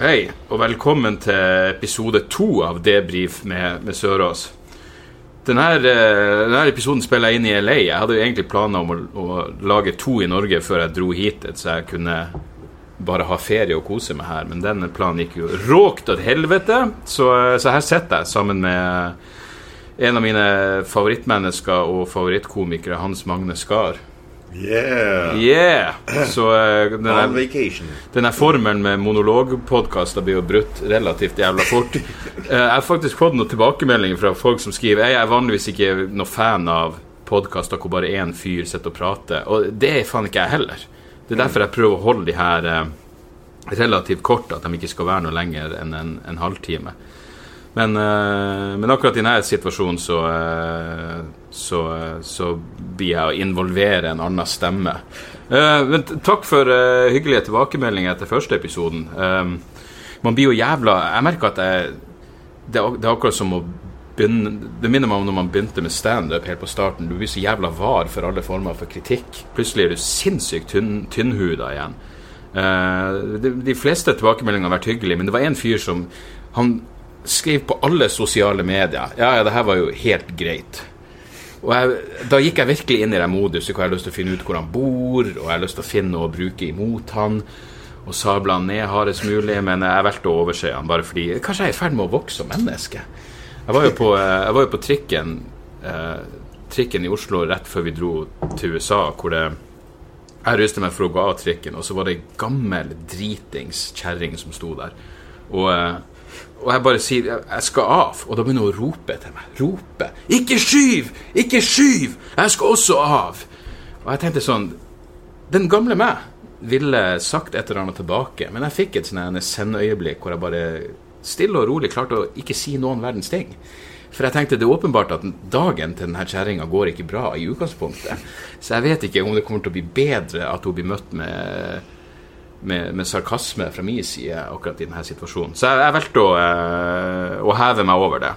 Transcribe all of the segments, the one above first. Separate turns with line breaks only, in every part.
Hei, og velkommen til episode to av Debrif med, med Sørås. Denne, eh, denne episoden spiller jeg inn i LA. Jeg hadde jo egentlig planer om å, å lage to i Norge før jeg dro hit, et, så jeg kunne bare ha ferie og kose meg her, men den planen gikk jo råkt til helvete, så, eh, så her sitter jeg sammen med en av mine favorittmennesker og favorittkomikere, Hans Magne Skar.
Yeah.
Yeah! Så eh, den
On
er-
vacation.
den her formelen med monologpodkaster blir jo brutt relativt jævla fort. Eh, Jeg har faktisk fått noen tilbakemeldinger fra folk som skriver Jeg er vanligvis ikke noe fan av podkaster hvor bare én fyr sitter og prater. Og det er faen ikke jeg heller. Det er derfor jeg prøver å holde de her eh, relativt korte, at de ikke skal være noe lenger enn en, en halvtime. Men, eh, men akkurat i denne situasjonen så, eh, så, så blir jeg å involvere en annen stemme. Eh, men t- takk for eh, hyggelige tilbakemeldinger etter første episoden. Eh, man blir jo jævla Jeg merker at jeg det er, ak- det er akkurat som å begynne Det minner meg om når man begynte med standup helt på starten. Du blir så jævla var for alle former for kritikk. Plutselig er du sinnssykt tynn, tynnhuda igjen. Eh, de, de fleste tilbakemeldingene har vært hyggelige, men det var en fyr som Han skrev på alle sosiale medier Ja, ja, det her var jo helt greit. Og jeg, Da gikk jeg virkelig inn i den moduset hvor jeg har lyst til å finne ut hvor han bor, og jeg har lyst til å finne noe å bruke imot han, og sabla han ned hardest mulig, men jeg valgte å overse han bare fordi Kanskje jeg er i ferd med å vokse som menneske? Jeg var jo på, eh, jeg var jo på trikken, eh, trikken i Oslo rett før vi dro til USA, hvor det jeg ruste meg for å gå av trikken, og så var det ei gammel dritings kjerring som sto der. Og, eh, og jeg bare sier jeg- 'jeg skal av', og da begynner hun å rope til meg. Rope. 'Ikke skyv! Ikke skyv! Jeg skal også av!' Og jeg tenkte sånn Den gamle meg ville sagt et eller annet tilbake, men jeg fikk et sånn her sendøyeblikk hvor jeg bare stille og rolig klarte å ikke si noen verdens ting. For jeg tenkte det er åpenbart at dagen til denne kjerringa går ikke bra i utgangspunktet. Så jeg vet ikke om det kommer til å bli bedre at hun blir møtt med, med, med sarkasme fra min side akkurat i denne situasjonen. Så jeg, jeg valgte å, eh, å heve meg over det.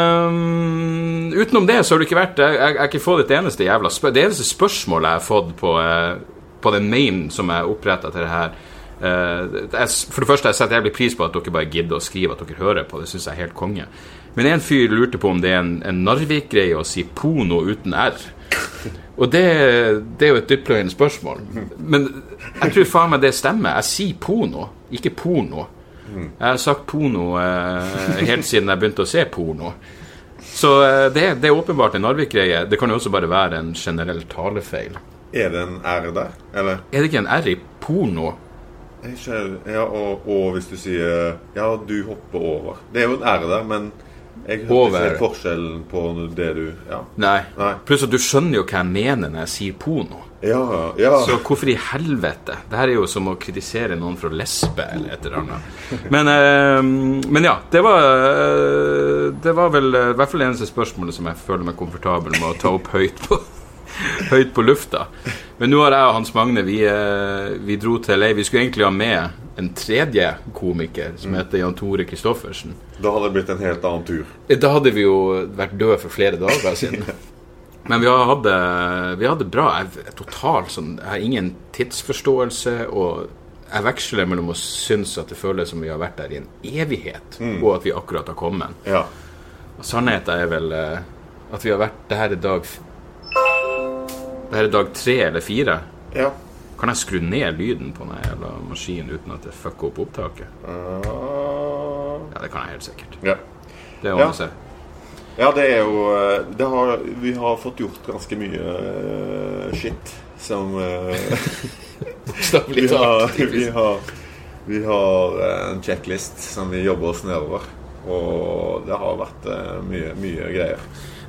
Ehm, utenom det så har det ikke vært Jeg, jeg, jeg har ikke fått et eneste jævla spør Det eneste spørsmålet jeg har fått på, eh, på den mailen som jeg oppretta til det her eh, det er s- For det første, jeg setter jævlig pris på at dere bare gidder å skrive at dere hører på. Det syns jeg er helt konge. Men en fyr lurte på om det er en, en Narvik-greie å si porno uten r. Og det, det er jo et dyptpløyende spørsmål. Men jeg tror faen meg det stemmer. Jeg sier porno, ikke porno. Jeg har sagt porno eh, helt siden jeg begynte å se porno. Så eh, det, det er åpenbart en Narvik-greie. Det kan jo også bare være en generell talefeil.
Er det en R der? Eller?
Er det ikke en R i porno?
Jeg skjønner- Ja, og, og hvis du sier Ja, du hopper over. Det er jo en R der, men jeg hørte
Over.
ikke helt forskjellen på det du Ja.
Nei.
Nei.
Pluss at du skjønner jo hva jeg mener når jeg sier porno.
Ja, ja.
Så hvorfor i helvete? Det her er jo som å kritisere noen for å lesbe eller et eller annet. Men, eh, men ja, det var eh, Det var vel eh, i hvert fall det eneste spørsmålet som jeg føler meg komfortabel med å ta opp høyt på, høyt på lufta. Men nå har jeg og Hans Magne Vi, eh, vi dro til LA. Vi skulle egentlig ha med en tredje komiker som heter Jan Tore Christoffersen.
Da hadde det blitt en helt annen tur.
Da hadde vi jo vært døde for flere dager siden. Men vi hadde, vi hadde bra jeg, er totalt sånn Jeg har ingen tidsforståelse, og jeg veksler mellom å synes at det føles som vi har vært der i en evighet,
Mm.
og at vi akkurat har kommet.
Ja.
Og sannheten er vel eh, at vi har vært Det her er dag f- Det her er dag tre eller fire.
Ja.
Kan jeg skru ned lyden på den jævla maskinen uten at det fucker opp opptaket?
Ah.
Ja, det kan jeg helt sikkert.
ja.
Det ordner
Ja.
seg.
Ja, det er jo eh, det har, Vi har fått gjort ganske mye eh, shit som eh, vi, har, vi
liksom.
har Vi har eh, en checklist som vi jobber oss nedover. Og det har vært eh, mye, mye greier.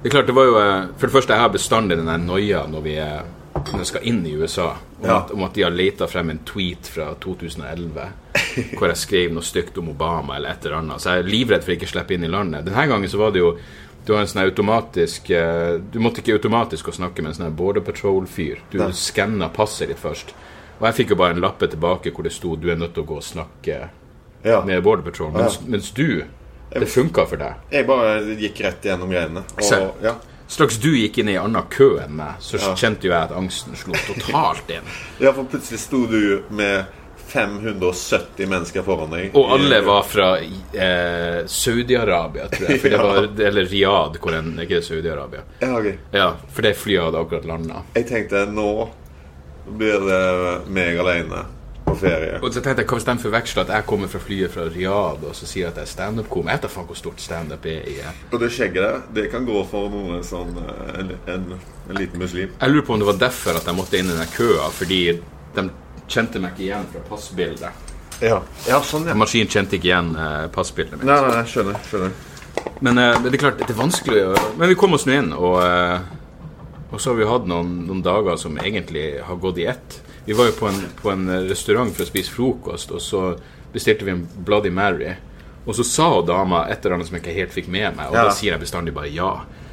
Det er klart, det var jo eh, For det første, jeg har bestandig den der noia når vi er, når vi skal inn i USA, om,
Ja.
at, om at de har leta frem en tweet fra 2011 hvor jeg skrev noe stygt om Obama eller et eller annet. Så jeg er livredd for å ikke slippe inn i landet. Denne gangen så var det jo du har en sånn her automatisk eh, Du måtte ikke automatisk å snakke med en sånn her Border Patrol-fyr. Du
Nei.
skanna passet ditt først. Og jeg fikk jo bare en lappe tilbake hvor det sto 'Du er nødt til å gå og snakke
Ja.
med Border Patrol'. Mens, mens du Det funka for deg.
Jeg bare gikk rett gjennom greiene.
Selv.
Og, ja.
Straks du gikk inn i en annen kø enn meg, så
Ja.
kjente jo jeg at angsten slo totalt inn.
ja, for plutselig sto du med 570 mennesker foran deg.
Og alle var fra eh, Saudi-Arabia, tror jeg. For det var, eller Riyadh, hvor en ikke det er Saudi-Arabia.
Ja, ok.
Ja, for det flyet hadde akkurat landa.
Jeg tenkte nå blir det meg alene på ferie.
Og så tenkte jeg, hva hvis de forveksler at jeg kommer fra flyet fra Riyadh, og så sier at jeg er standup-komiker? Jeg vet da faen hvor stort standup er i eh.
Og det skjegget der, det kan gå for noen sånn eh, en, en, en liten muslim.
Jeg lurer på om det var derfor at jeg måtte inn i den køa, fordi de kjente meg ikke igjen fra passbildet.
Ja, ja sånn, ja. Nei,
Maskinen kjente ikke igjen eh, passbildet mitt.
nei, nei, skjønner. skjønner
Men eh, men det er klart, det er vanskelig å Men vi kom oss nå inn, og, eh, og så har vi hatt noen, noen dager som egentlig har gått i ett. Vi var jo på en, på en restaurant for å spise frokost, og så bestilte vi en Bloody Mary. Og så sa hun dama et eller annet som jeg ikke helt fikk med meg, og
Ja.
da sier jeg bestandig bare ja.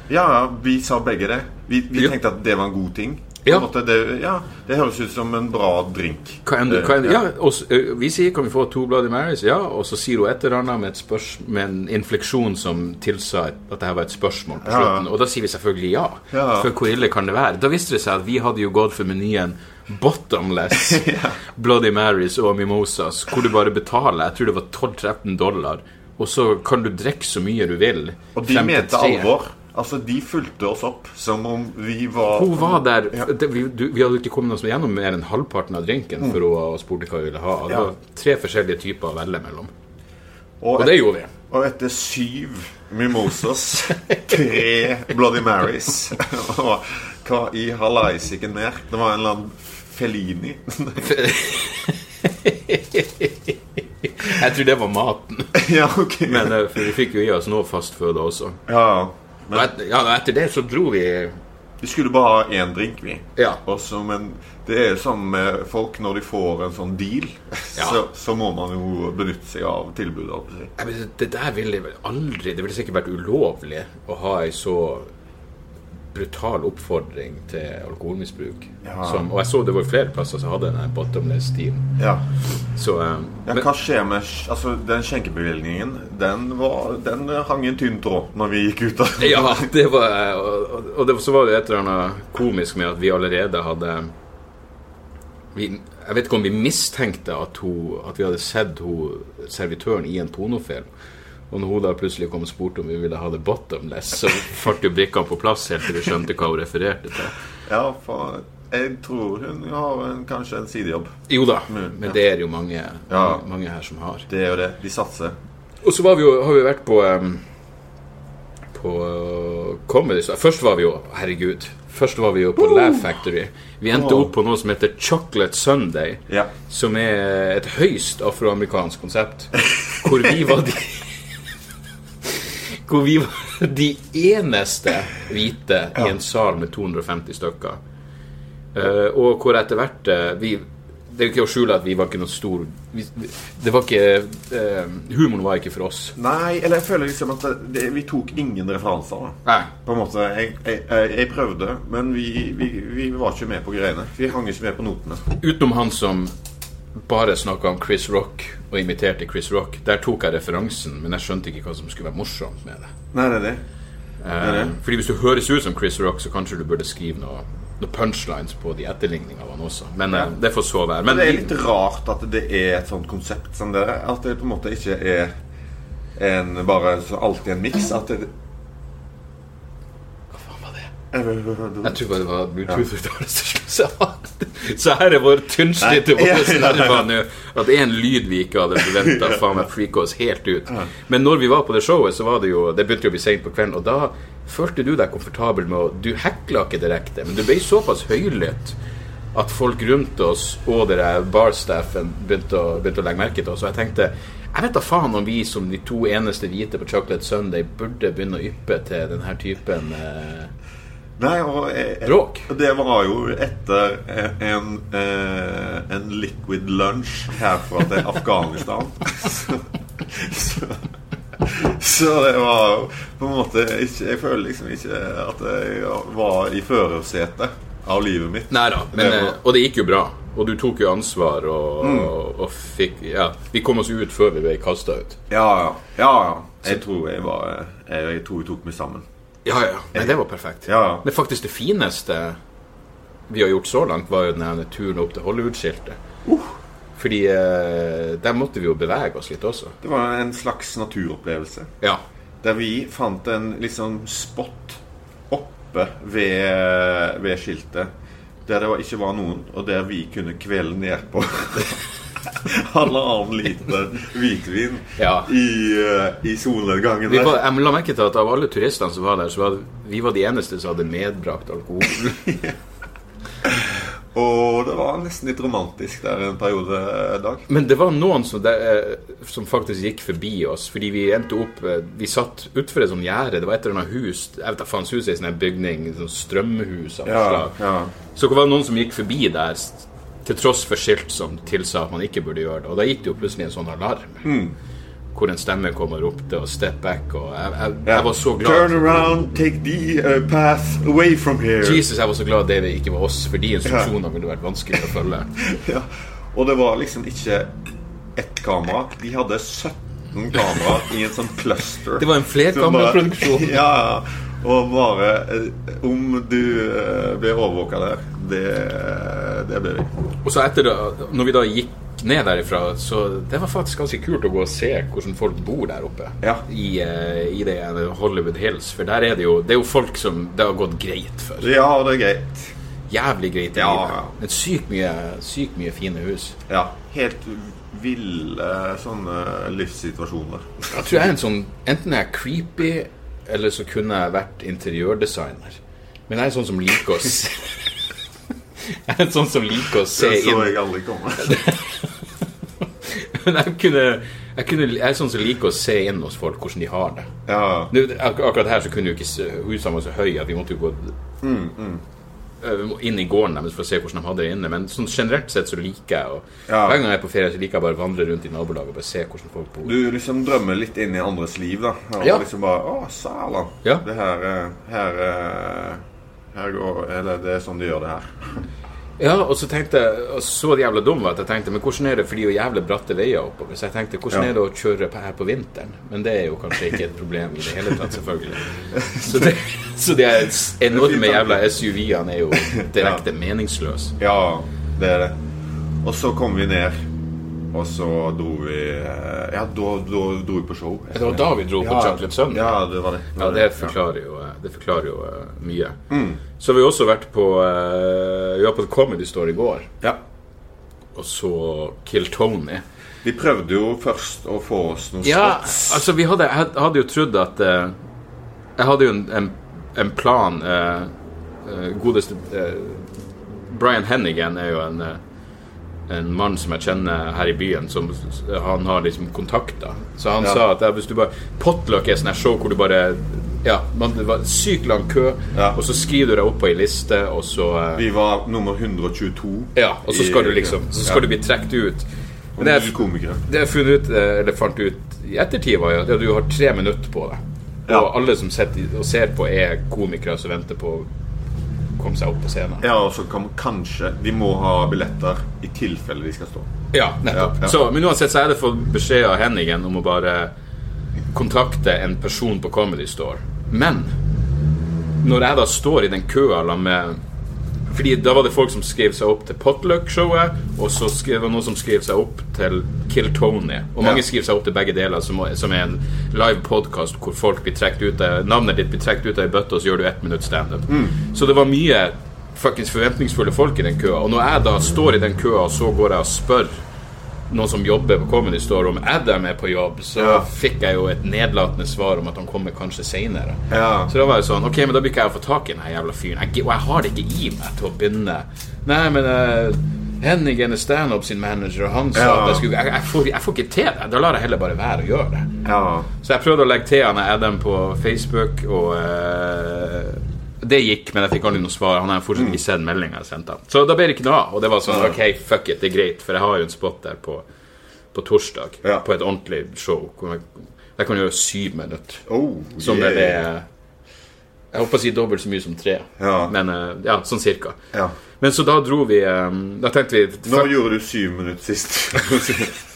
Ja, ja, vi sa begge det. Vi, vi
Ja.
tenkte at det var en god ting. På
Ja.
en måte, det, ja, det høres ut som en bra drink.
Hva enn du,
Eh,
hva enn, ja, og s- ø, vi sier 'Kan vi få to Bloody Marys?' Ja, og så sier hun et eller annet med, et spørs, med en infleksjon som tilsa et- at dette var et spørsmål på
Ja, ja.
slutten. Og da sier vi selvfølgelig ja.
Ja.
For hvor ille kan det være? Da viste det seg at vi hadde jo gått for menyen Bottomless Bloody Marys og Mimosas, hvor du bare betaler jeg tror det var 12-13 dollar, og så kan du drikke så mye du vil.
Og de
frem til
mente
tre.
alvor. Altså, de fulgte oss opp som om vi var
Hun var der
Ja.
det, vi, du, vi hadde ikke kommet oss gjennom mer enn halvparten av drinken før hun spurte hva vi ville ha. Det
Ja.
var tre forskjellige typer å velge mellom.
Og,
Og det gjorde vi.
og etter syv mimosas, tre Bloody Marys og hva i halaisiken mer? Det var en eller annen Felini.
Jeg tror det var maten.
ja, ok.
Men eh, for vi fikk jo i oss noe fastføde også.
ja,
Og et, ja, og etter det så dro vi
vi skulle bare ha én drink, vi.
Ja.
Også, men det er jo sånn med folk når de får en sånn deal,
Ja.
så, så må man jo benytte seg av tilbudet. holdt jeg på å si.
Jeg vet, Det der ville vel aldri Det ville sikkert vært ulovlig å ha ei så brutal oppfordring til alkoholmisbruk.
Ja.
Som, og jeg så det var flere plasser som hadde den bottomless-stilen.
Ja.
Så eh,
Ja,
men-
hva skjer med sk- altså, Den skjenkebevilgningen den, var, den hang i en tynn tråd når vi gikk ut av
Ja, det var, og, og- og det, så var det et eller annet komisk med at vi allerede hadde vi, Jeg vet ikke om vi mistenkte at, hun, at vi hadde sett hun, servitøren i en pornofilm. Og når hun da plutselig kom og spurte om vi ville ha det bottomless, så falt jo brikkene på plass helt til vi skjønte hva hun refererte til.
Ja, for jeg tror hun har en, kanskje en sidejobb.
Jo da, men det er det jo mange,
Ja.
mange her som har.
Det er jo det. De satser.
Og så var vi jo, har vi vært på em, På eh, Comedy Store. Først var vi jo Herregud. Først var vi jo på Laugh Factory. Vi endte
Åh.
opp på noe som heter Chocolate Sunday.
Ja.
Som er et høyst afroamerikansk konsept. Hvor vi var de Hvor vi var de eneste hvite i en sal med 250 stykker. Eh, og hvor etter hvert eh, vi, Det er jo ikke å skjule at vi var ikke noe stor vi, vi- Det var ikke eh, Humoren var ikke for oss.
Nei, eller jeg føler liksom at det, det, vi tok ingen referanser. da.
Nei.
På en måte. Jeg, jeg, jeg, jeg prøvde, men vi, vi, vi var ikke med på greiene. Vi hang ikke med på notene.
Utenom han som bare snakka om Chris Rock og imiterte Chris Rock. Der tok jeg referansen, men jeg skjønte ikke hva som skulle være morsomt med det.
Nei, det er det.
Eh, fordi hvis du høres ut som Chris Rock, så kanskje du burde skrive noe, noe punchlines på de etterligningene av han også. Men eh, det får så være. Men
Det er litt rart at det er et sånt konsept som det er. At det på en måte ikke er en, bare så alltid en miks. At det,
Hva faen var det? Jeg tror bare det var Bluetooth-høyttaler som slo seg av. Så her er vår tynnslite
Nei. Ja,
vår
ja, ja.
nerver nå. At én lyd vi ikke hadde forventa, faen meg freaka oss helt ut. Men når vi var på det showet, så var det jo Det begynte jo å bli seint på kvelden, og da følte du deg komfortabel med å Du hekla ikke direkte, men du ble såpass høylytt at folk rundt oss og det der barstaffen begynte å, begynte å legge merke til oss. Og jeg tenkte jeg vet da faen om vi som de to eneste hvite på Chocolate Sunday burde begynne å yppe til denne typen eh,
Nei, og jeg, jeg-
Bråk.
Det var jo etter en, eh, en liquid lunch herfra til Afghanistan. så, så, så det var jo på en måte ikke, Jeg føler liksom ikke at jeg var i førersetet av livet mitt.
Nei da, men,
Det var-
eh, og det gikk jo bra. Og du tok jo ansvar og, og, og fikk Ja, vi kom oss ut før vi ble kasta ut.
Ja, ja. ja, ja. Jeg tror jeg var Jeg, jeg tror jeg tok meg sammen.
Ja, ja. Nei, det var perfekt.
Ja, ja.
Men faktisk det fineste vi har gjort så langt, var jo den her turen opp til Hollywood-skiltet. Fordi eh, der måtte vi jo bevege oss litt også.
Det var en slags naturopplevelse.
Ja.
Der vi fant en liksom spot oppe ved, ved skiltet der det var- ikke var noen, og der vi kunne kvele nedpå halvannen liter hvitvin
Ja.
i, eh, i solnedgangen
Vi
der.
var, jeg la merke til at av alle turistene som var der, så var vi var de eneste som hadde medbrakt alkohol.
Og det var nesten litt romantisk der en periode eh, dag.
Men det var noen som, det, eh, som faktisk gikk forbi oss, fordi vi endte opp eh, Vi satt utfor et sånt gjerde. Det var et eller annet hus. Jeg vet da faen, huset er en sånn her bygning, sånn strømhus av noe
Ja,
slag.
ja.
Så det var noen som gikk forbi der s- til tross for skilt som tilsa at man ikke burde gjøre det. Og da gikk det jo plutselig en sånn alarm.
Mm.
Hvor en stemme kom og ropte og 'step back' og jeg, jeg, jeg var så glad.
Turn around, take the eh, path away from here.
Jesus, jeg var så glad det ikke var oss, for de instruksjonene ville vært vanskelig å følge.
Ja. Og det var liksom ikke ett kamera. De hadde 17 kameraer i en sånn cluster.
Det var en flerkameraproduksjon.
Ja, ja. Og bare eh, Om du eh, ble overvåka der, det, eh, det ble vi.
Og så etter det, når vi da gikk ned derifra, så det var faktisk ganske kult å gå og se hvordan folk bor der oppe.
Ja.
I, eh, i det ene Hollywood Hills. For der er det jo, det er jo folk som det har gått greit for.
Ja, det er greit.
Jævlig greit. i
Ja,
livet.
ja.
Men sykt mye, sykt mye fine hus.
Ja. Helt ville eh, sånne livssituasjoner.
Jeg tror jeg er en sånn Enten er jeg creepy, eller så kunne jeg vært interiørdesigner. Men jeg er en sånn som liker å se Jeg er en sånn som liker å se
Det så
inn
jeg aldri komme.
Men jeg kunne, jeg kunne Jeg er sånn som liker å se inn hos folk hvordan de har det.
Ja.
Nå, ak akkurat her så kunne jo ikke se- husene var så høye at vi måtte jo gå
Mm,
Eh, vi må inn i gården deres for å se hvordan de hadde det inne. Men sånn generelt sett så liker jeg å
Ja.
Hver gang jeg er på ferie, så liker jeg bare å vandre rundt i nabolaget og bare se hvordan folk bor.
Du liksom drømmer litt inn i andres liv, da. Og
Ja.
liksom bare Å, Sæland.
Ja.
Det her eh, Her eh, Her går Eller det er sånn de gjør det her.
Ja, og så tenkte jeg og Så det jævla dum var at jeg tenkte Men hvordan er det, for det er jo jævlig bratte veier oppover. Så jeg tenkte hvordan
Ja.
er det å kjøre på her på vinteren? Men det er jo kanskje ikke et problem i det hele tatt, selvfølgelig. Så, det, så de her enorme jævla SUV-ene er jo direkte meningsløse.
Ja, det er det. Og så kom vi ned, og så dro vi eh, Ja, da, da dro vi på show.
Det var da vi dro på Chocolate Sun.
Ja, det var det.
Ja, det forklarer jo, det forklarer jo eh, mye. Så har vi også vært på eh, Vi var på Comedy Store i går,
Ja.
og så Kill Tony.
Vi prøvde jo først å få oss noen
Ja,
spots.
altså vi hadde, jeg hadde jo trodd at eh, Jeg hadde jo en, en, en plan eh, eh, Godeste eh, Brian Hennigan er jo en eh, en mann som jeg kjenner her i byen, som han har liksom kontakter. Så han
Ja.
sa at ja, hvis du bare Potluck er sånn her show hvor du bare Ja, man, det var sykt lang kø,
Ja.
og så skriver du deg opp på ei liste, og så eh,
Vi var nummer 122.
Ja, og så skal du liksom Så skal
Ja.
du bli trukket ut.
Og
Men det
ni
er-
komikere.
det jeg funnet ut, eh, eller fant ut i ettertid, var jo at du har tre minutter på deg. Og
Ja.
alle som sitter i- og ser på, er komikere som venter på å komme seg opp på scenen.
Ja, og så kom kanskje De må ha billetter i tilfelle de skal stå.
Ja, nettopp.
Ja, ja.
Så, men uansett så er det fått beskjed av Henningen om å bare kontakte en person på Comedy Store. Men når jeg da står i den køa la med Fordi da var det folk som skrev seg opp til Potluck-showet, og så skrev det noen som skrev seg opp til Kill Tony. Og mange
Ja.
skriver seg opp til begge deler, som, som er en live podkast hvor folk blir trekt ut av, navnet ditt blir trukket ut av ei bøtte, og så gjør du ett minutt standup.
Mm.
Så det var mye fuckings forventningsfulle folk i den køa. Og når jeg da står i den køa, og så går jeg og spør noen som jobber på Comedy Store om Adam er på jobb, så
Ja.
fikk jeg jo et nedlatende svar om at han kommer kanskje seinere.
Ja.
Så da var jeg sånn Ok, men da blir ikke jeg å få tak i den her jævla fyren. Jeg, gi- og jeg har det ikke i meg til å begynne. Nei, men eh, Henning er standup sin manager, og han sa
Ja.
at jeg skulle jeg, jeg, får, jeg får ikke til det. Da lar jeg heller bare være å gjøre det.
Ja.
Så jeg prøvde å legge til han Adam på Facebook, og eh, det gikk, men jeg fikk aldri noe svar. Han har fortsatt ikke sett meldinga jeg sendte han. Så da ble det ikke noe av. Og det var sånn Ok, fuck it, det er greit, for jeg har jo en spot der på, på torsdag.
Ja.
På et ordentlig show. Hvor jeg, jeg kan gjøre syv minutter.
Oh,
Som
yeah.
er det Jeg håper å si dobbelt så mye som tre.
Ja.
Men eh, ja, sånn cirka.
Ja.
Men så da dro vi eh, Da tenkte vi
Nå
fuck-
gjorde du syv minutter sist.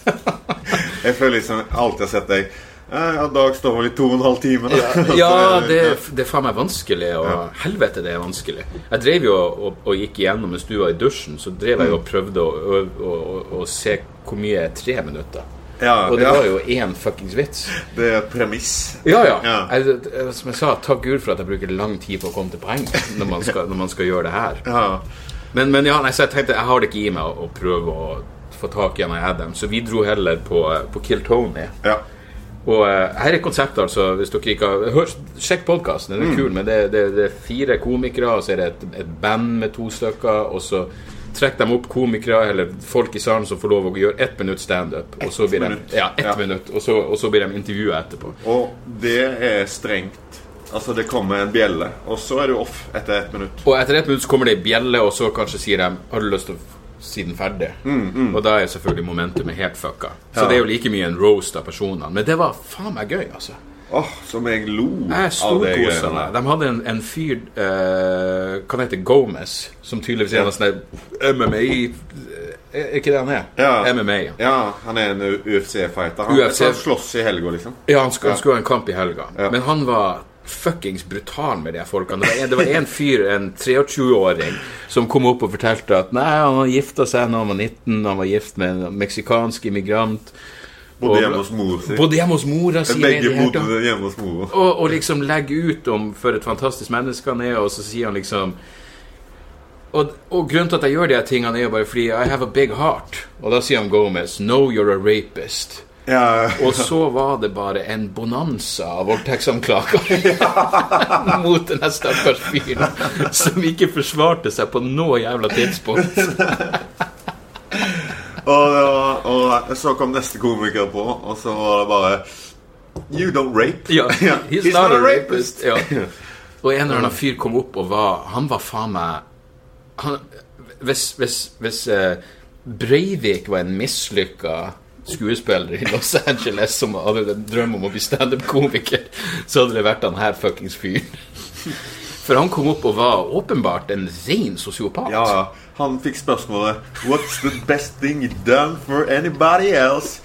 jeg føler liksom alt jeg har sett deg eh, ja, Dag står vel i to og en halv time. da.
Ja,
Så,
det, det er faen meg vanskelig. Og helvete, det er vanskelig. Jeg drev jo og, og, og gikk igjennom mens du var i dusjen, så drev
Mm.
jeg jo og prøvde å, å, å, å, å se hvor mye er tre minutter.
ja,
Og det
ja,
var jo én fuckings vits.
det er premiss.
Ja, ja.
Ja.
Jeg, jeg- som jeg sa, takk Gud for at jeg bruker lang tid på å komme til poeng når man skal, når man skal gjøre det her.
Ja.
Men, men ja, nei, så jeg tenkte jeg har det ikke i meg å, å prøve å få tak i en av Adam, så vi dro heller på, eh, på Kill Tony.
ja.
Og eh, her er konseptet, altså. Hvis dere ikke har hør, Sjekk podkasten,
Mm.
den er kul. Men det, det, det er fire komikere, og så er det et, et band med to stykker. Og så trekker de opp komikere eller folk i salen som får lov å gjøre ett minutt standup. Og så blir de,
minutt.
ja, ett
Ja.
minutt, og så, og så blir de intervjua etterpå.
Og det er strengt. Altså, det kommer en bjelle, og så er du off etter ett minutt.
Og etter ett minutt så kommer det ei bjelle, og så kanskje sier de Har du lyst til å si den ferdig? Og da er selvfølgelig momentumet helt fucka. Så
Mm, Ja.
det er jo like mye en roast av personene. Men det var faen meg gøy, altså.
Åh, som jeg lo
Jeg
av det
storkosa
greiene
meg.
der.
De hadde en, en fyr eh, Hva heter det? Gomez, som tydeligvis er en sånn der MMA eh, Er ikke det han er?
Ja.
MMA.
Ja, han er en UFC-fighter. Han
UFC.
UFC. slåss i helga, liksom.
Ja, han skulle, han skulle ha en kamp i helga.
Ja.
Men han var fuckings brutal med de folkene. Det var en- Det var en fyr, en 23-åring, som kom opp og fortalte at nei, han gifta seg da han var 19, han var gift med en meksikansk immigrant.
Bodde hjemme hos mor si.
Bodde hjemme hos mora si.
Begge
i det hele tatt.
bodde hjemme hos mor.
og, og liksom legge ut om for et fantastisk menneske han er, og så sier han liksom og, og grunnen til at jeg gjør de her tingene, er jo bare fordi I have a big heart. Og da sier han Gomez, no, you're a rapist.
Ja,
Og så var det bare en bonanza av voldtektsanklager mot den her stakkars fyren som ikke forsvarte seg på noe jævla tidspunkt.
Og, det var- og så kom neste komiker på, og så var det bare You don't rape.
Ja,
Ja,
he's, not, a rapist. Ja. Og en eller annen fyr kom opp og var Han var faen meg han, Hvis, hvis, hvis eh, Breivik var en mislykka skuespiller i Los Angeles som hadde en drøm om å bli standup-komiker, så hadde det vært han her fuckings fyren. For han kom opp og var åpenbart en ren sosiopat.
Ja, ja. Han fikk spørsmålet What's the best thing you've done for anybody else?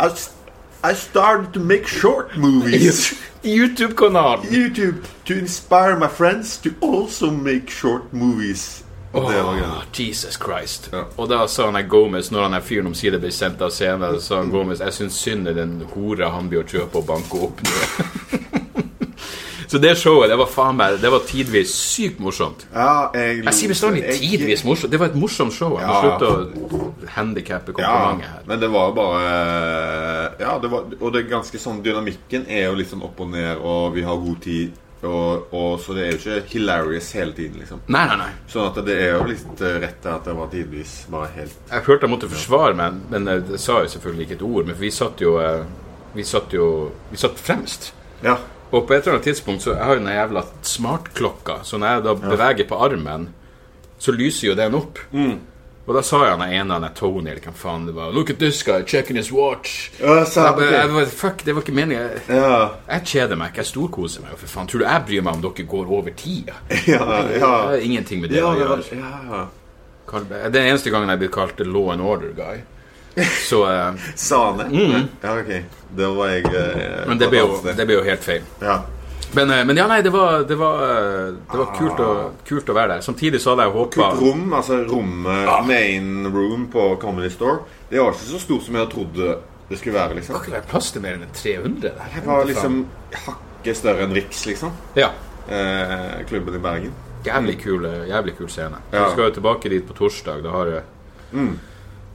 I, s- I started to make short movies.
YouTube-kanalen!
YouTube to inspire my friends to also make short movies. Og det var
Åh,
gøy.
Jesus Christ.
Ja.
Og da sa han her Gomez, når han her fyren omsider ble sendt av
Mm.
scenen, så sa han Gomez jeg syns synd i den hora han blir å kjøpe og banke opp nå. så det showet, det var faen meg Det var tidvis sykt morsomt.
Ja, jeg
Jeg sier bestandig
jeg-
tidvis morsomt. Det var et morsomt show. Jeg må
Mm. Ja.
slutte å handikappe
Ja,
komplimentet her.
men det var jo bare eh, Ja, det var, og det er ganske sånn Dynamikken er jo litt sånn opp og ned, og vi har god tid, og, og så det er jo ikke hilarious hele tiden, liksom.
Nei, nei, nei.
Sånn at det er jo litt eh, rett til at det var tidvis bare helt
Jeg følte jeg måtte forsvare meg, men eh, det sa jo selvfølgelig ikke et ord. Men vi satt jo eh, Vi satt jo Vi satt fremst.
Ja.
Og på et eller annet tidspunkt så jeg har jo den jævla smartklokka, så når jeg da beveger på armen, så lyser jo den opp.
Mm.
Og da sa jeg han ene, han er Tony, eller hvem faen det var, Look at this guy, checking his watch.
Ja, sa-
jeg, bare-
ok.
jeg, bare, Fuck, det var ikke meningen. Jeg-
Ja,
Jeg kjeder meg ikke, jeg storkoser meg jo, for faen. Tror du jeg bryr meg om dere går over tida?
ja, ja.
Det har ingenting med det
Ja,
å
det
gjøre.
var, ja, ja.
Kall meg- Det er den eneste gangen jeg blir kalt the law and order guy. Så eh,
Sane. Ja, ok. Da var jeg eh,
Mm. Men det
på et
ble,
annet
jo,
sted.
det ble jo helt feil.
Ja.
Men, eh, men ja, nei, det var, det var, eh, det var kult, å, kult å være der. Samtidig så hadde jeg håpa
Ah. Kult rom, altså rommet, main room på Comedy Store, det var ikke så stort som jeg hadde trodd det skulle være. liksom
Det er plass til mer enn 300 der.
Det var liksom hakket større enn Riks, liksom.
Ja.
Eh, klubben i Bergen.
Jævlig kul, eh, jævlig kul scene.
Ja. Mm.
Vi skal jo tilbake dit på torsdag. Da har jeg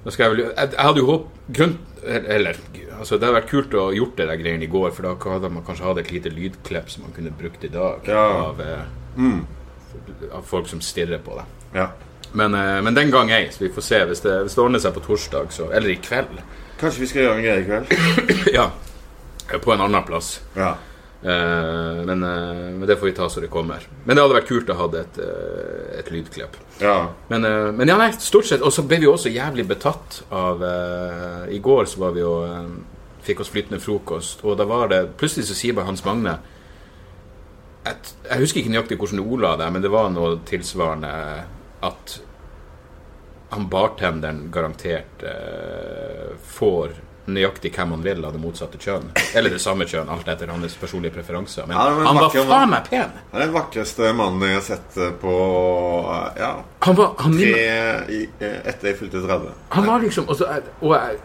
Da skal jeg vel Jeg, jeg hadde jo håp grunn, Eller altså, Det hadde vært kult å ha gjort det der greiene i går, for da hadde man kanskje hatt et lite lydklipp som man kunne brukt i dag
Ja. Mm.
av, eh, av folk som stirrer på deg.
Ja.
Men, eh, men den gang ei, så vi får se. Hvis det, hvis det ordner seg på torsdag, så Eller i kveld.
Kanskje vi skal gjøre en greie i kveld?
ja. På en annen plass.
Ja.
Eh, men, eh, men det får vi ta så det kommer. Men det hadde vært kult å ha et, eh, et lydklipp.
ja.
Men, eh, men ja, nei, stort sett. Og så ble vi jo også jævlig betatt av eh, I går så var vi jo eh, Fikk oss flytende frokost, og da var det Plutselig så sier bare Hans Magne jeg, t- jeg husker ikke nøyaktig hvordan ord la det, men det var noe tilsvarende at han bartenderen garantert eh, får nøyaktig hvem han vil av det motsatte kjønn. Eller det samme kjønn, alt etter hans personlige preferanser. Men,
Ja, men
han var
vakker mann.
faen meg pen!
Han er den vakreste mannen jeg har sett eh, på eh, ja,
Han var, han, minner-
tre, i, eh, etter jeg fylte 30.
Han var liksom Og, så, er- og jeg,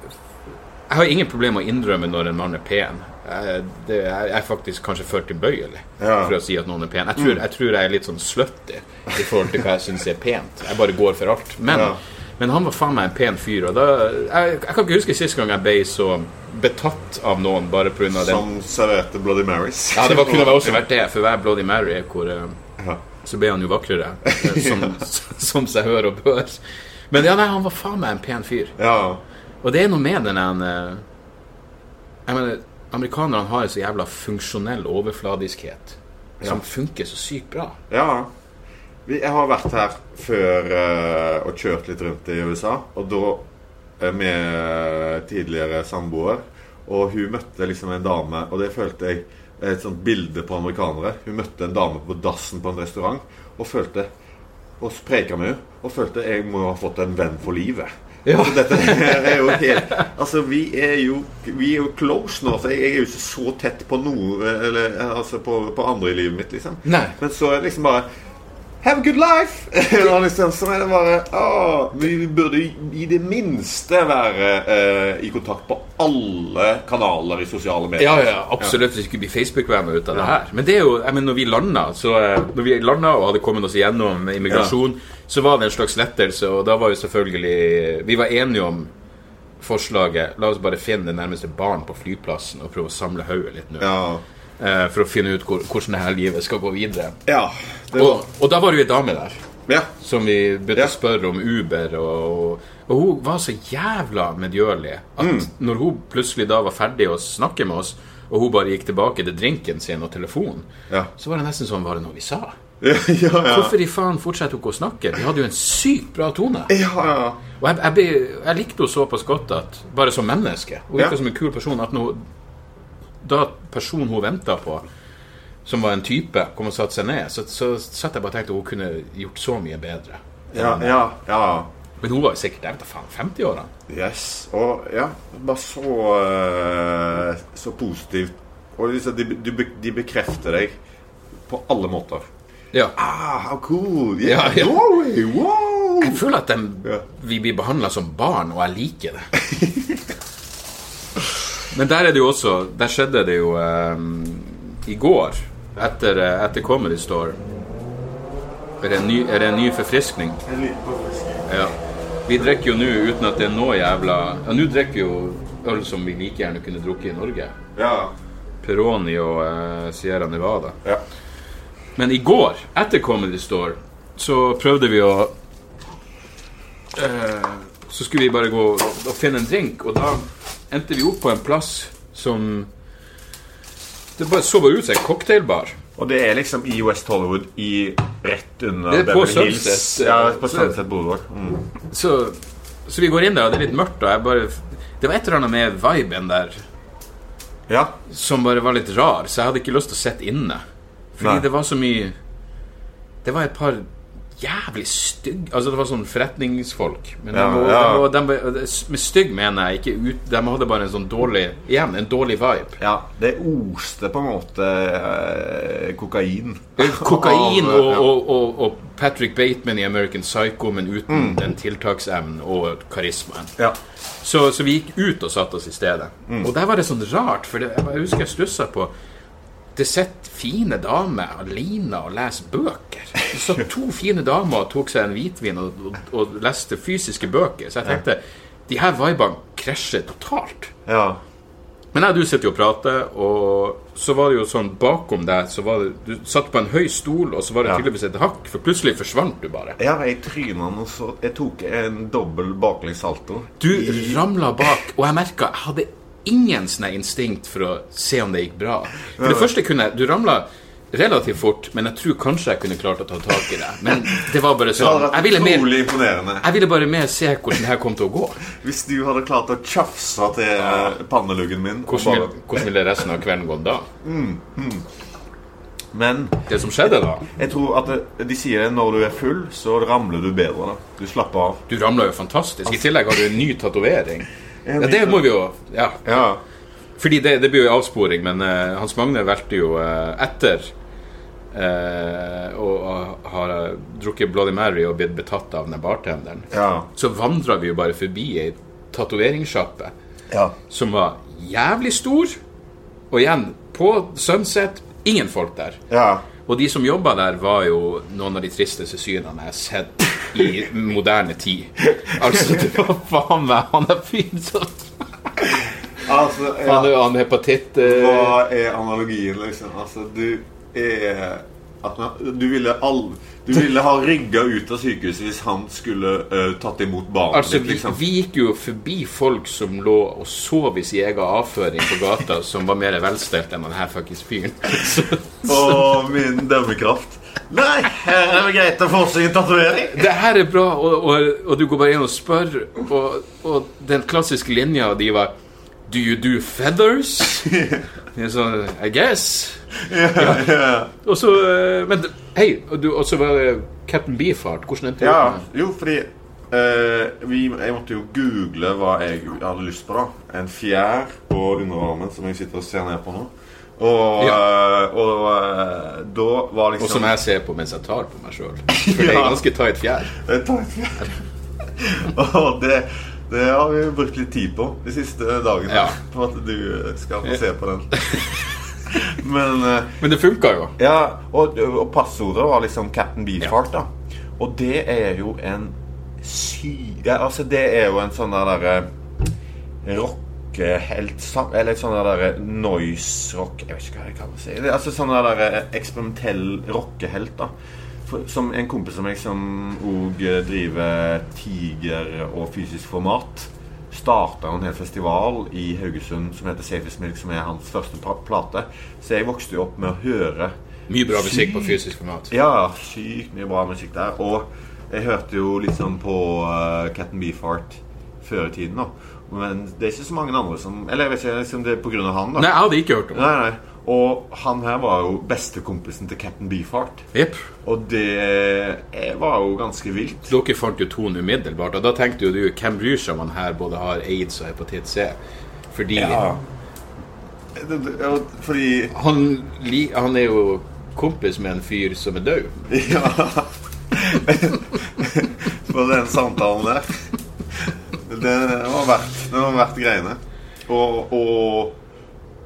jeg har ingen problemer med å innrømme når en mann er pen. Jeg, det, jeg er faktisk kanskje for tilbøyelig
Ja.
for å si at noen er pen. Jeg tror jeg, tror jeg er litt sånn slutty i forhold til hva jeg syns er pent. Jeg bare går for alt. Men,
Ja.
men han var faen meg en pen fyr. Og da, jeg, jeg kan ikke huske sist gang jeg ble så betatt av noen bare pga. den.
Som serverte Bloody Marys.
Ja, det var, kunne vel også vært det, for hver Bloody Mary hvor eh,
Ja.
så ble han jo vakrere, eh, som, som seg hør og bør. Men ja, nei, han var faen meg en pen fyr.
ja.
Og det er noe med den en, eh, Jeg mener, amerikanerne har en så jævla funksjonell overfladiskhet som funker så sykt bra.
Ja. Vi- Jeg har vært her før eh, og kjørt litt rundt i USA, og da eh, med eh, tidligere samboer. Og hun møtte liksom en dame, og det følte jeg er et sånt bilde på amerikanere. Hun møtte en dame på dassen på en restaurant og følte Og så preka med henne og følte jeg må ha fått en venn for livet.
Ja.
Altså, dette er jo helt Altså, vi er jo, vi er jo close nå. Så jeg jeg er jo ikke så tett på noe Eller altså på, på andre i livet mitt, liksom.
Nei.
Men så er det liksom bare Have a good life! Og liksom, så er det bare «Åh, Vi burde i det minste være eh, i kontakt på alle kanaler i sosiale medier.
Ja, ja, absolutt. Hvis vi skulle bli Facebook-venner ut av det her. Men det er jo, jeg mener, når vi landa så, eh, Når vi landet og hadde kommet oss igjennom immigrasjon, så var det en slags lettelse, og da var jo selvfølgelig Vi var enige om forslaget La oss bare finne det nærmeste barn på flyplassen og prøve å samle hodet litt nå.
Ja.
eh, For å finne ut hvor, hvordan det her livet skal gå videre.
ja det var,
Og, og da var det jo ei dame der.
ja.
som vi begynte
Ja.
å spørre om Uber, og, og hun var så jævla medgjørlig at
Mm.
når hun plutselig da var ferdig å snakke med oss, og hun bare gikk tilbake til drinken sin og telefonen,
Ja.
så var det nesten sånn Var det noe vi sa?
ja, ja, ja.
Hvorfor i faen fortsetter hun ikke å snakke? Vi hadde jo en sykt bra tone.
ja, ja.
Og jeg, jeg, ble- jeg likte henne såpass godt, at, bare som menneske, og
Ja.
ikke som en kul person, at når hun- da personen hun venta på, som var en type, kom og satte seg ned, så, så satt jeg bare og tenkte hun kunne gjort så mye bedre.
Ja, ja, ja.
Men hun var jo sikkert jeg vet da faen, 50-åra.
Yes. Og ja, bare så eh, Så positivt. Og liksom, de, de, be- de bekrefter deg på alle måter.
Ja.
Ah, how cool!
Ja,
Yeah,
ja.
Norway! Wow!
Jeg føler at dem-
Ja.
vi blir behandla som barn, og jeg liker det. Men der er det jo også Der skjedde det jo eh, i går, etter, eh, etter Comedy Store. Er det en ny, er det en ny forfriskning?
En liten påfriskning.
Ja. Vi drikker jo nå uten at det er noe jævla Ja, nå drikker vi jo øl som vi like gjerne kunne drukket i Norge.
Ja.
Peroni og eh, Sierra Nevada.
ja.
Men i går, etter Comedy Store, så prøvde vi å eh, Så skulle vi bare gå og finne en drink, og da endte vi opp på en plass som Det bare så bare ut som en cocktailbar.
Og det er liksom i West Hollywood, i rett under
Det er på
Beverly Hills.
Sunset,
Ja,
eh,
på
så-
Sunset Boulevard. Mm.
Så, så vi går inn der, og det er litt mørkt, og jeg bare Det var et eller annet med viben der
Ja.
som bare var litt rar, så jeg hadde ikke lyst til å sitte inne. Fordi
Nei.
det var så mye Det var et par jævlig stygg Altså det var sånn forretningsfolk Men
Ja,
de, var,
ja.
de, var, de, var, Med stygg mener jeg ikke ut De hadde bare en sånn dårlig Igjen, en dårlig vibe
Ja, det oste på en måte eh, kokain.
Kokain
Av,
og,
ja.
og, og, og Patrick Bateman i American Psycho Men uten
Mm.
den tiltaksevnen og karismaen
Ja.
så, så vi gikk ut og satte oss i stedet Og der var det sånn rart For det, jeg husker jeg stusset på Det sett fine damer alene og leser bøker Det satt to fine damer og tok seg en hvitvin og, og, og leste fysiske bøker Så jeg tenkte De her vibene krasjer totalt
ja.
men jeg og du sitter jo og prater, og så var det jo sånn bakom deg så var det, Du satt på en høy stol, og så var det
Ja.
tydeligvis et hakk, for plutselig forsvant du bare.
Ja, jeg tryna noe så Jeg tok en dobbel baklengs salto.
Du ramla bak, og jeg merka jeg hadde ingen sånne instinkt for å se om det gikk bra. For det første kunne jeg Du ramla relativt fort, men jeg tror kanskje jeg kunne klart å ta tak i deg. Men det var bare
Det hadde
sånn. Jeg
vært
ville, mer,
utrolig imponerende.
jeg ville bare mer se hvordan det her kom til å gå.
Hvis du hadde klart å tjafse til eh, panneluggen min og
Hvordan
bare-
ville, hvordan ville resten av kvelden gått da?
Men
Det som skjedde da
jeg tror at det, de sier det når du er full, så ramler du bedre. da Du slapper av.
Du ramla jo fantastisk. I tillegg har du en ny tatovering. Ja, det må vi jo Ja.
Ja.
Fordi det, det blir jo en avsporing, men eh, Hans Magne valgte jo eh, etter eh, å å ha drukket Bloody Mary og blitt betatt av den bartenderen.
Ja.
Så vandra vi jo bare forbi ei tatoveringssjappe
ja.
som var jævlig stor. Og igjen, på Sunset ingen folk der.
ja.
Og de som jobba der, var jo noen av de tristeste synene jeg har sett i moderne tid. Altså, det var faen meg han der fyren som
Altså ja.
Han har hepatitt eh,
Hva er analogien, liksom? Altså, du er at man, du, ville all, du ville ha rygga ut av sykehuset hvis han skulle eh, tatt imot barnet
Altså,
ditt,
vi,
liksom.
vi gikk jo forbi folk som lå og sov i sin egen avføring på gata, som var mer velstelt enn denne fuckings fyren. Så,
Å, min dømmekraft. Nei, her er det greit å få seg en tatovering.
det her er bra, og, og, og du går bare inn og spør, og, og den klassiske linja de var Do you do feathers? Jeg sa, I guess. Og så eh, Men hei, og du- og så var det Captain Beefheart. Hvordan endte
Ja,
det?
jo, fordi eh, vi, Jeg måtte jo google hva jeg hadde lyst på, da. En fjær på underarmen som jeg sitter og ser ned på nå. Og, eh, og eh, da var liksom
Og som jeg ser på mens jeg tar på meg sjøl. For det er
Ja.
ganske tight fjær.
Eh, ta en fjær. og det, det har vi jo brukt litt tid på de siste dagene.
Ja.
På at du skal få se på den. Men eh,
Men det funka jo.
Ja, og, og passordet var liksom Captain Beefheart, da. Og det er jo en sy... Ja, altså, det er jo en sånn der derre rockeheltsang eh, Eller sånn der derre noise rock Jeg vet ikke hva jeg kan si. Det er Altså sånn der derre eksperimentell rockehelt, da. For, som en kompis av meg som òg driver Tiger og fysisk format. Starta en hel festival i Haugesund som heter Safest Milk, som er hans første pa- plate. Så jeg vokste jo opp med å høre
Mye bra musikk på fysisk format.
ja, sykt mye bra musikk der. Og jeg hørte jo litt sånn på uh, Captain Beefheart før i tiden, da. Men det er ikke så mange andre som Eller jeg vet ikke liksom det er på grunn av han, da.
Nei, jeg hadde ikke hørt om det.
Nei, nei. Og han her var jo bestekompisen til Captain Beefheart.
Jepp.
Og det eh, var jo ganske vilt.
Dere fant jo tonen umiddelbart, og da tenkte jo du hvem bryr seg om han her både har aids og hepatitt C? Fordi
Det- det- ja, Fordi
han, li, han er jo kompis med en fyr som er død.
Ja. For den samtalen der Den var verdt, den var verdt greiene. Og, og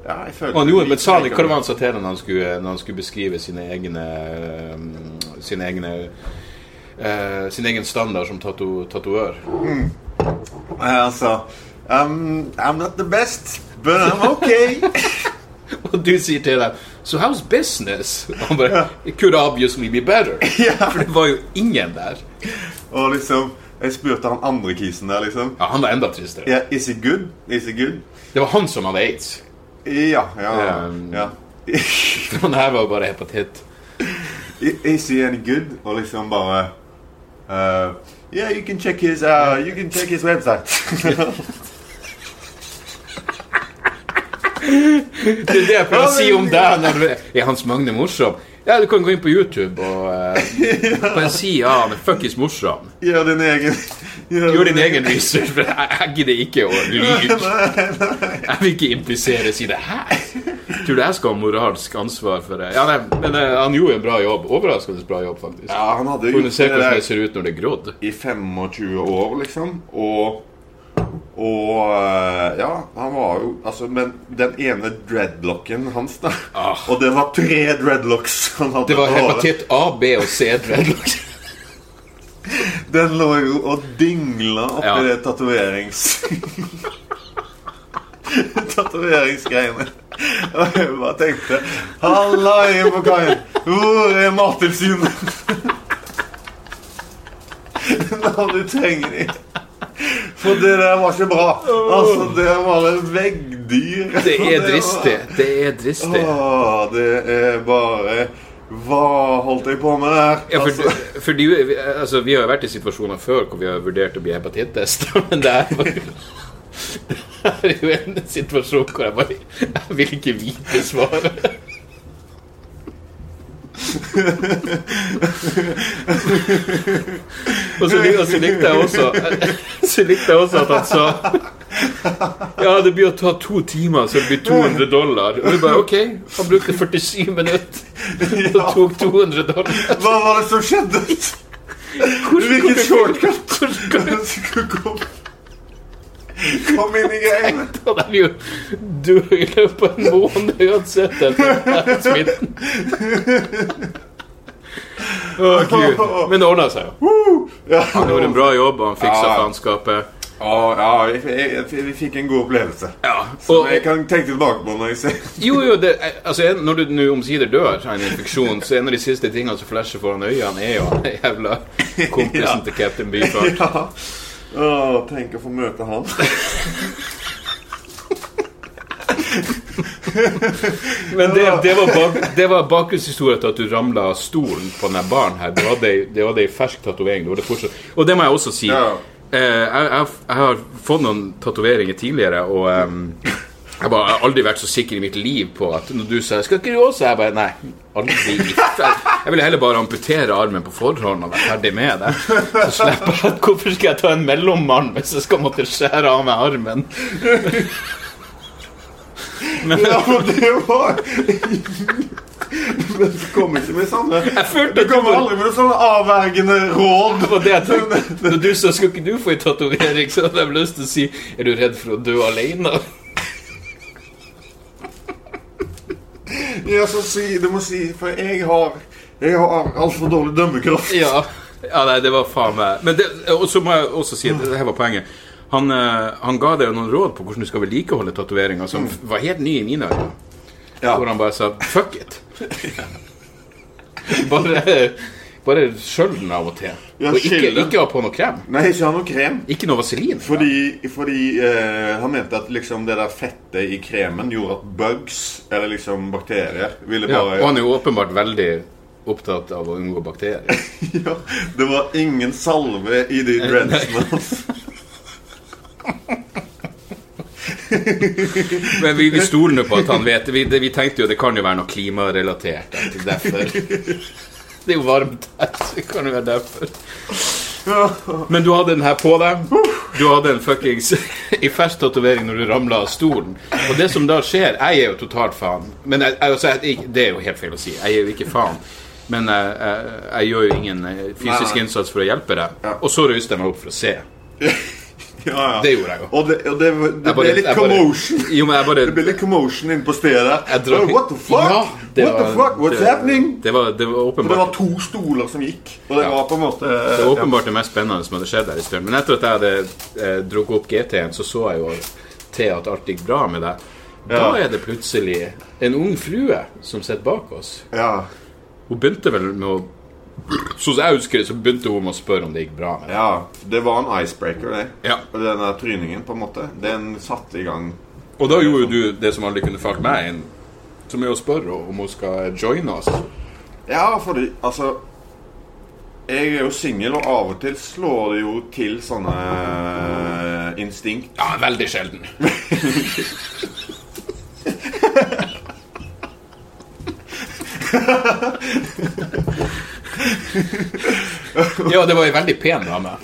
Ja, jeg føler
Og han gjorde, men sa han ikke hva det var han sa til deg når han skulle, når han skulle beskrive sine egne eh, Sine egne eh, sin egen standard som tato, tatoør.
Eh, Han sa I'm, um, I'm not the best, but I'm okay.
Og du sier til dem So how's business? Og han bare It could obviously be better. For det var jo ingen der.
og liksom Jeg spurte han andre kisen der, liksom.
Ja, Han var enda tristere.
Yeah, is it good? Is it good?
Det var han som hadde aids.
Ja, ja,
Um,
ja.
Han her var jo bare hepatitt.
I- Is he any good? Og liksom bare eh, Yeah, you can check his uh, You can check his website.
Det er det jeg prøver å si om deg. Når du er Hans Magne morsom? Ja, du kan gå inn på YouTube og eh, bare si ja, han er fuckings morsom.
Gjør din egen
Gjør din egen research, for jeg jeg gidder ikke å lyve. Jeg vil ikke implisere si det her. Tror du jeg skal ha moralsk ansvar for det? Ja, nei, men eh, han gjorde en bra jobb. Overraskende bra jobb, faktisk.
Ja, han hadde jo
Kunne
gjort
se
det
hvordan
der.
det ser ut når det er grådd.
i 25 år, liksom. Og og eh, ja, han var jo altså, Men den ene dreadlocken hans, da
Ah.
Og det var tre dreadlocks han hadde
Det var
på håret.
hepatitt A, B og C. dreadlocks.
Den lå jo og dingla oppi
Ja.
det tatoverings... Tatoveringsgreiene. Og jeg bare tenkte Halla inn på kaien! Hvor er Martinsen? Når du trenger dem. For det der var ikke bra. Altså, det er bare veggdyr.
Det er
var-
dristig. Det er dristig.
Åh, det er bare Hva holdt jeg på med der?
Ja, for,
Altså,
for du, vi- altså, vi har jo vært i situasjoner før hvor vi har vurdert å bli hepatittester, men det er bare det er jo en situasjon hvor jeg bare Jeg vil ikke vite svaret. og så, lik- og så likte jeg også Så likte jeg også at han sa Ja, det blir å ta to timer, så det blir 200 dollar. Og vi bare OK. Han brukte 47 minutter og tok 200 dollar.
hva var det som skjedde? Hvilken shortcut? Kom, kom inn i greiene.
Han er jo død i løpet av en måned uansett etter den smitten. Å, Gud. Men det ordna seg jo.
Ja,
Han gjorde en bra jobb, og han fiksa
Ja.
faenskapet.
Å, ja jeg, jeg, jeg, vi fikk en god opplevelse.
Ja.
Som
Og,
jeg kan tenke tilbake på når jeg ser
jo, jo, det, altså, en- når du nå omsider dør av en infeksjon, så en av de siste tingene som flasher foran øynene, er jo han jævla kompisen til Captain Beefheart.
ja. Å, tenk å få møte han.
Men det, det, var bak, det var bakgrunnshistoria til at du ramla av stolen på denne baren her. Du hadde, ei- det hadde ei fersk tatovering. Du hadde fortsatt- Og det må jeg også si.
Ja.
Eh, jeg, jeg, jeg har fått noen tatoveringer tidligere, og ehm, jeg, bare, jeg har aldri vært så sikker i mitt liv på at Når du sa 'Skal ikke du også?' Jeg bare Nei. Aldri. i f- Jeg, jeg ville heller bare amputere armen på forhånd og være ferdig med det. Så slipper jeg at Hvorfor skal jeg ta en mellommann hvis jeg skal måtte skjære av meg armen?
Ja, for det var Men du kom ikke med samme
følte at
Du
du
kom
bare-
aldri med noe sånn avvergende råd.
Det var det jeg tenkte. Når du sa 'skal ikke du få ei tatovering', så hadde jeg lyst til å si 'er du redd for å dø alene?
Ja, så si, du må si For jeg har Jeg har altfor dårlig dømmekraft.
Ja. ja nei, det var faen meg Men det, Og så må jeg også si at det her var poenget. Han, eh, han ga deg jo noen råd på hvordan du skal vedlikeholde tatoveringer, som var helt ny i mine øyne.
Mm. Ja.
Hvor han bare sa 'fuck it'. Bare bare skjøll den av og til.
Ja,
Og ikke,
skyll den.
ikke ha på noe krem.
Nei, ikke ha noe krem.
Ikke noe vaselin.
Fordi, fordi eh, han mente at liksom det der fettet i kremen gjorde at bugs, eller liksom bakterier, ville
ja,
bare
og han er jo åpenbart veldig opptatt av å unngå bakterier.
Ja, Det var ingen salve i
Eh,
de dreadsene hans.
Men vi, vi stoler nå på at han vet vi, det, vi tenkte jo det kan jo være noe klimarelatert. at det er Derfor. Det er jo varmt her, så det kan jo være derfor. Men du hadde den her på deg. Du hadde en fuckings i fersk tatovering når du ramla av stolen. Og det som da skjer Jeg er jo totalt faen. Men jeg, jeg, altså, jeg, det er jo helt feil å si. Jeg er jo ikke faen. Men jeg, jeg, jeg gjør jo ingen eh, fysisk
Nei, nei.
innsats for å hjelpe deg.
Ja.
Og så røyste jeg meg opp for å se.
Ja, ja.
Det gjorde jeg jo.
Og det, og det, det
Jeg bare-
ble litt
jeg bare-
commotion.
Jo, men jeg bare
Det ble litt commotion inne på stedet der.
jeg drar-
Oh, What the fuck?
Ja, det
What the
var-
fuck? What's
det-
happening?
Det var, det var
For det
åpenbart
var to stoler som gikk, og det
Ja.
var på en måte eh,
Det var åpenbart det mest spennende som hadde skjedd der i stund. Men etter at jeg hadde eh, drukket opp GT-en, så så jeg jo til at alt gikk bra med deg. Da
Ja.
er det plutselig en ung frue som sitter bak oss.
ja.
Hun begynte vel med å Sånn som jeg husker det, så begynte hun med å spørre om det gikk bra med deg.
ja. Det var en icebreaker, det.
Ja.
Og Den der tryningen, på en måte, den satte i gang
Og da gjorde jo du det som aldri kunne falt meg inn, som er å spørre om hun skal joine oss.
Ja, fordi altså Jeg er jo singel, og av og til slår det jo til sånne eh, instinkt.
Ja, veldig sjelden. Ja, det var ei veldig pen dame.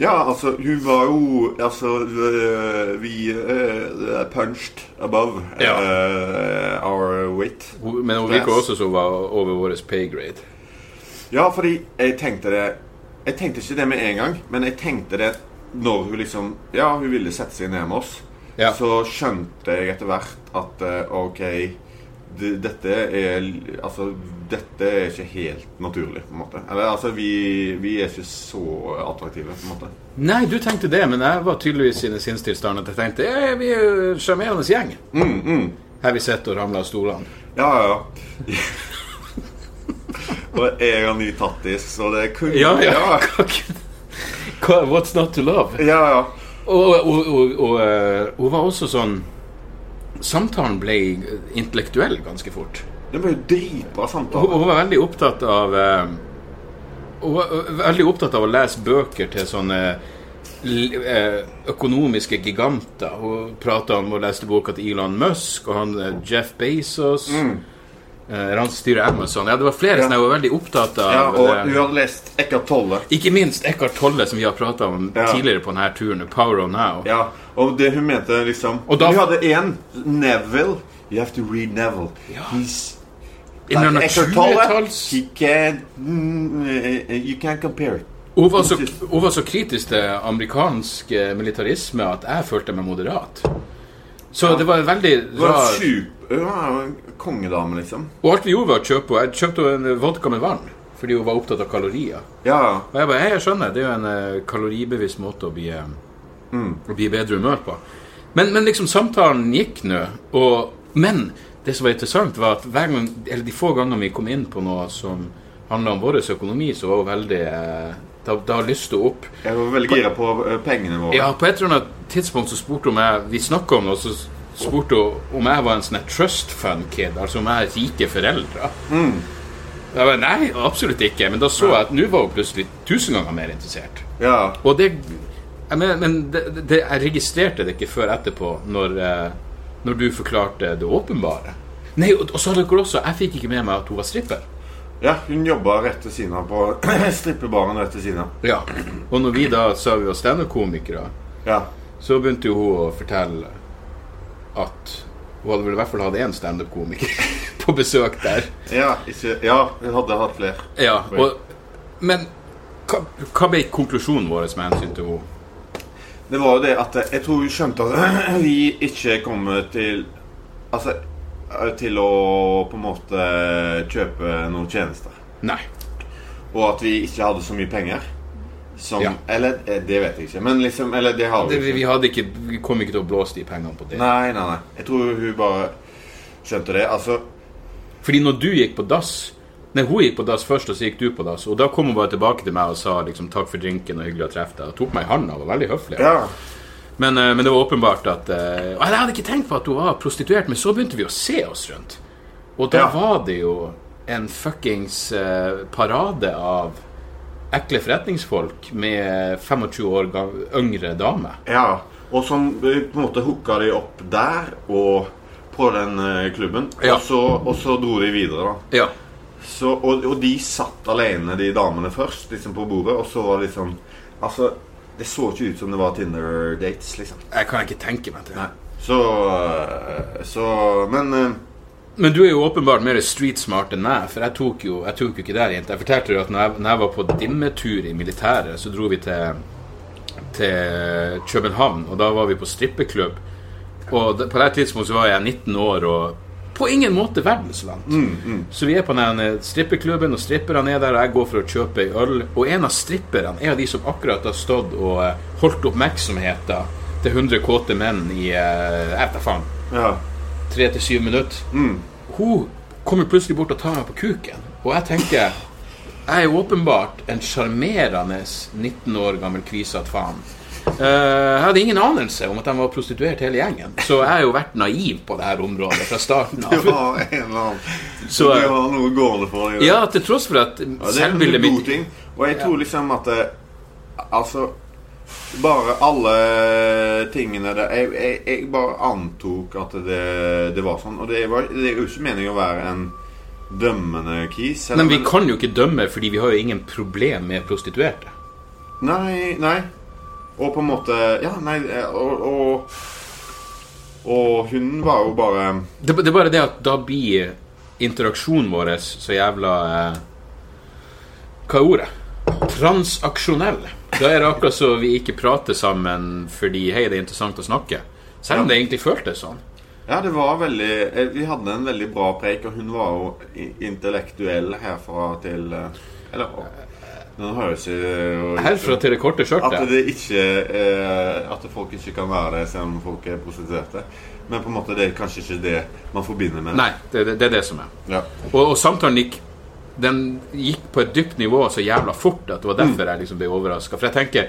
Ja, altså, hun var jo Altså, øh, vi øh, punched above
Ja.
øh, our weight.
Hun- Men hun virka også som hun var over vår paygrade.
Ja, fordi jeg tenkte det Jeg tenkte ikke det med en gang, men jeg tenkte det når hun liksom Ja, hun ville sette seg ned med oss.
Ja.
Så skjønte jeg etter hvert at eh, OK d- dette er l- Altså, dette er ikke helt naturlig, på en måte. Eller altså, vi, vi er ikke så attraktive, på en måte.
Nei, du tenkte det, men jeg var tydeligvis i den sinnstilstanden at jeg tenkte eh, vi er jo en sjarmerende gjeng. Her vi sitter og ramler av stolene.
Ja, ja, ja. Og jeg har ny tattis, så det er kun
Ja, ja.
ja.
Hva- What's not to love?
ja, ja.
Og, og, og, og eh, hun var også sånn Samtalen ble intellektuell ganske fort.
Det ble jo dritbra
Hun,
samtale.
hun var veldig opptatt av eh, Hun var eh, veldig opptatt av å lese bøker til sånne l- eh, økonomiske giganter. Hun prata om og leste boka til Elon Musk og han eh, Jeff Bezos. Eh, eller han styrer Amazon. Ja, det var flere
Mm. Ja.
som jeg var veldig opptatt av.
Ja, og
det.
hun har lest Eckhart Tolle.
Ikke minst Eckhart Tolle, som vi har prata om
Ja.
tidligere på denne turen. Power of Now.
Ja, og det hun mente liksom
Og da-
Hun hadde én. Neville. You have to read Neville. He's
In the
Eckhart Tolle.
naturtalls-
He can mm, eh, You can't compare it.
Hun var, så, hun var så kritisk til amerikansk eh, militarisme at jeg følte meg moderat. Så det var en veldig
Hun var
rar
super Hun var jo en kongedame, liksom.
Og alt vi gjorde, var å kjøpe Jeg kjøpte en eh, vodka med vann fordi hun var opptatt av kalorier.
Ja, ja.
Og jeg bare «Hei, jeg skjønner. Det er jo en eh, kaloribevisst måte å bli, eh, å bli i bedre humør på. Men, men liksom, samtalen gikk nå, og Men det som var interessant, var at hver gang, eller de få gangene vi kom inn på noe som handla om vår økonomi, så var hun veldig eh, Da, da lyste hun opp.
Jeg var veldig gira på eh, pengene våre.
Ja, på et eller annet tidspunkt så spurte hun meg Vi snakket om det, og så spurte hun om jeg var en sånn her trust fund kid, altså om jeg har rike foreldre. Jeg bare, Nei, absolutt ikke. Men da så jeg at nå var hun plutselig tusen ganger mer interessert.
ja.
Og det jeg mener, Men det, det, jeg registrerte det ikke før etterpå, når, eh, når du forklarte det åpenbare. Nei, og, og så hadde dere også Jeg fikk ikke med meg at hun var stripper.
ja hun jobba rett ved siden av på strippebaren rett ved siden av.
Ja. Og når vi da sa vi var standup-komikere
Ja.
Så begynte jo hun å fortelle at hun hadde vel i hvert fall hatt én standup-komiker på besøk der.
Ja, ikke, ja, hun hadde hatt flere.
Ja, og, Men hva, hva ble konklusjonen vår med hensyn til henne?
Det var jo det at eh, jeg tror hun skjønte at vi ikke kommer til Altså eh, til å på en måte eh, kjøpe noen tjenester.
Nei.
Og at vi ikke hadde så mye penger. Som
Ja.
Eller eh, det vet jeg ikke. Men liksom Eller det har
Det,
vi
vi, vi,
ikke.
hadde ikke, vi kom ikke til å blåse de pengene på det.
Nei, nei, nei. Jeg tror hun bare skjønte det. Altså
Fordi når du gikk på dass Nei, hun gikk på dass først, og så gikk du på dass. Og da kom hun bare tilbake til meg og sa liksom, 'takk for drinken og hyggelig å treffe deg'. Og tok meg i handa. Var veldig høflig.
Ja.
Men, eh, men det var åpenbart at eh, og Jeg hadde ikke tenkt på at hun var prostituert, men så begynte vi å se oss rundt. Og da
Ja.
var det jo en fuckings eh, parade av ekle forretningsfolk med 25 år gam- yngre damer.
ja. Og som eh, på en måte hooka de opp der og på den eh, klubben.
Ja.
Og, så, og så dro de videre, da.
Ja.
Så, og, og de satt alene, de damene først, liksom på bordet, og så var det liksom Altså, det så ikke ut som det var Tinder-dates, liksom.
Jeg kan ikke tenke meg til det.
Så øh, Så Men øh,
Men du er jo åpenbart mer street smart enn meg, for jeg tok jo, jeg tok jo ikke der, jente. Jeg fortalte jo at når jeg, når jeg var på dimmetur i militæret, så dro vi til, til København, og da var vi på strippeklubb. Og da- på det tidspunktet så var jeg 19 år og på ingen måte verdensvant. Så vi er på den eh, strippeklubben, og stripperne er der, og jeg går for å kjøpe ei øl. Og en av stripperne er av de som akkurat har stått og eh, holdt oppmerksomheten til 100 kåte menn i eh, Jeg vet da faen
Ja.
tre til syv minutter.
Mm.
Hun kommer plutselig bort og tar meg på kuken. Og jeg tenker Jeg er åpenbart en sjarmerende 19 år gammel kvisete faen. Eh, jeg hadde ingen anelse om at de var prostituert hele gjengen. Så jeg har jo vært naiv på det her området fra starten
Du
av.
har en eller annen
Så,
Du har noe gående for deg. der.
Ja, til tross for at
Ja, det er
selvbildet
en god
mitt
ting. Og jeg tror liksom at eh, Altså Bare alle tingene der Jeg, jeg, jeg bare antok at det, det var sånn. Og det, var, det er jo ikke meningen å være en dømmende keys.
Nei, men vi kan jo ikke dømme, fordi vi har jo ingen problem med prostituerte.
Nei, nei. Og på en måte Ja, nei, eh, og Og, og hun var jo bare
Det, det er bare det at da blir interaksjonen vår så jævla eh, Hva er ordet? Transaksjonell. Da er det akkurat så vi ikke prater sammen fordi hei, det er interessant å snakke. Selv om det egentlig føltes sånn.
Ja, det var veldig eh, Vi hadde en veldig bra preik, og hun var jo i- intellektuell herfra til eh, Eller å, Nå høres jo
Herfra til det korte
At
skjørtet.
det ikke eh, At folk ikke kan være det selv om folk er prostituerte. Men på en måte det er kanskje ikke det man forbinder med det.
Nei, det, det, det er det som er.
Ja.
Og, og samtalen gikk Den gikk på et dypt nivå så jævla fort at det var derfor jeg liksom ble overraska. For jeg tenker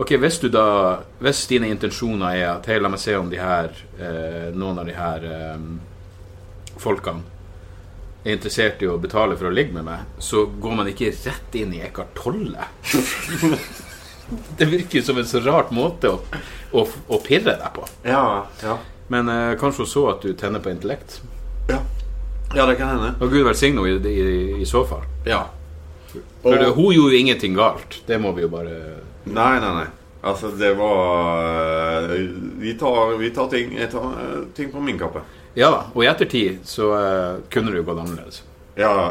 Ok, hvis du da Hvis dine intensjoner er at Hei, la meg se om de her eh, noen av de her eh, folkene er interessert i å betale for å ligge med meg, så går man ikke rett inn i Eckhart Tolle. det virker som en så rart måte å, å, å pirre deg på.
Ja, ja.
Men eh, kanskje hun så at du tenner på intellekt.
ja, det kan hende.
Og Gud velsigne henne i, i, i så fall.
Ja.
For det, hun gjorde jo ingenting galt. Det må vi jo bare
Nei, nei, nei. Altså, det var eh, Vi tar, vi tar ting Jeg tar eh, ting på min kappe.
Ja da. Og i ettertid så eh, kunne det jo gått annerledes.
Ja.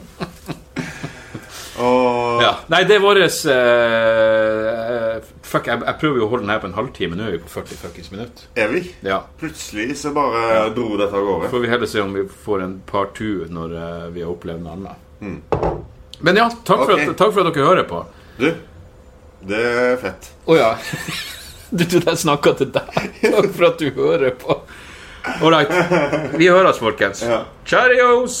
Og
Ja. Nei, det er våres eh, eh, Fuck, jeg, jeg prøver jo å holde den her på en halvtime. Nå er vi på 40 fuckings minutt.
er vi?
Ja.
Plutselig så bare dro dette av gårde.
Får vi heller se om vi får en par two når eh, vi har opplevd noe annet. Mm. Men ja, takk for,
Ok.
at, takk for at dere hører på.
Du, det er fett.
Å ja. Du trodde jeg snakka til deg. Takk for at du hører på. All right. Vi høres, folkens.
Ja.
Cheerios!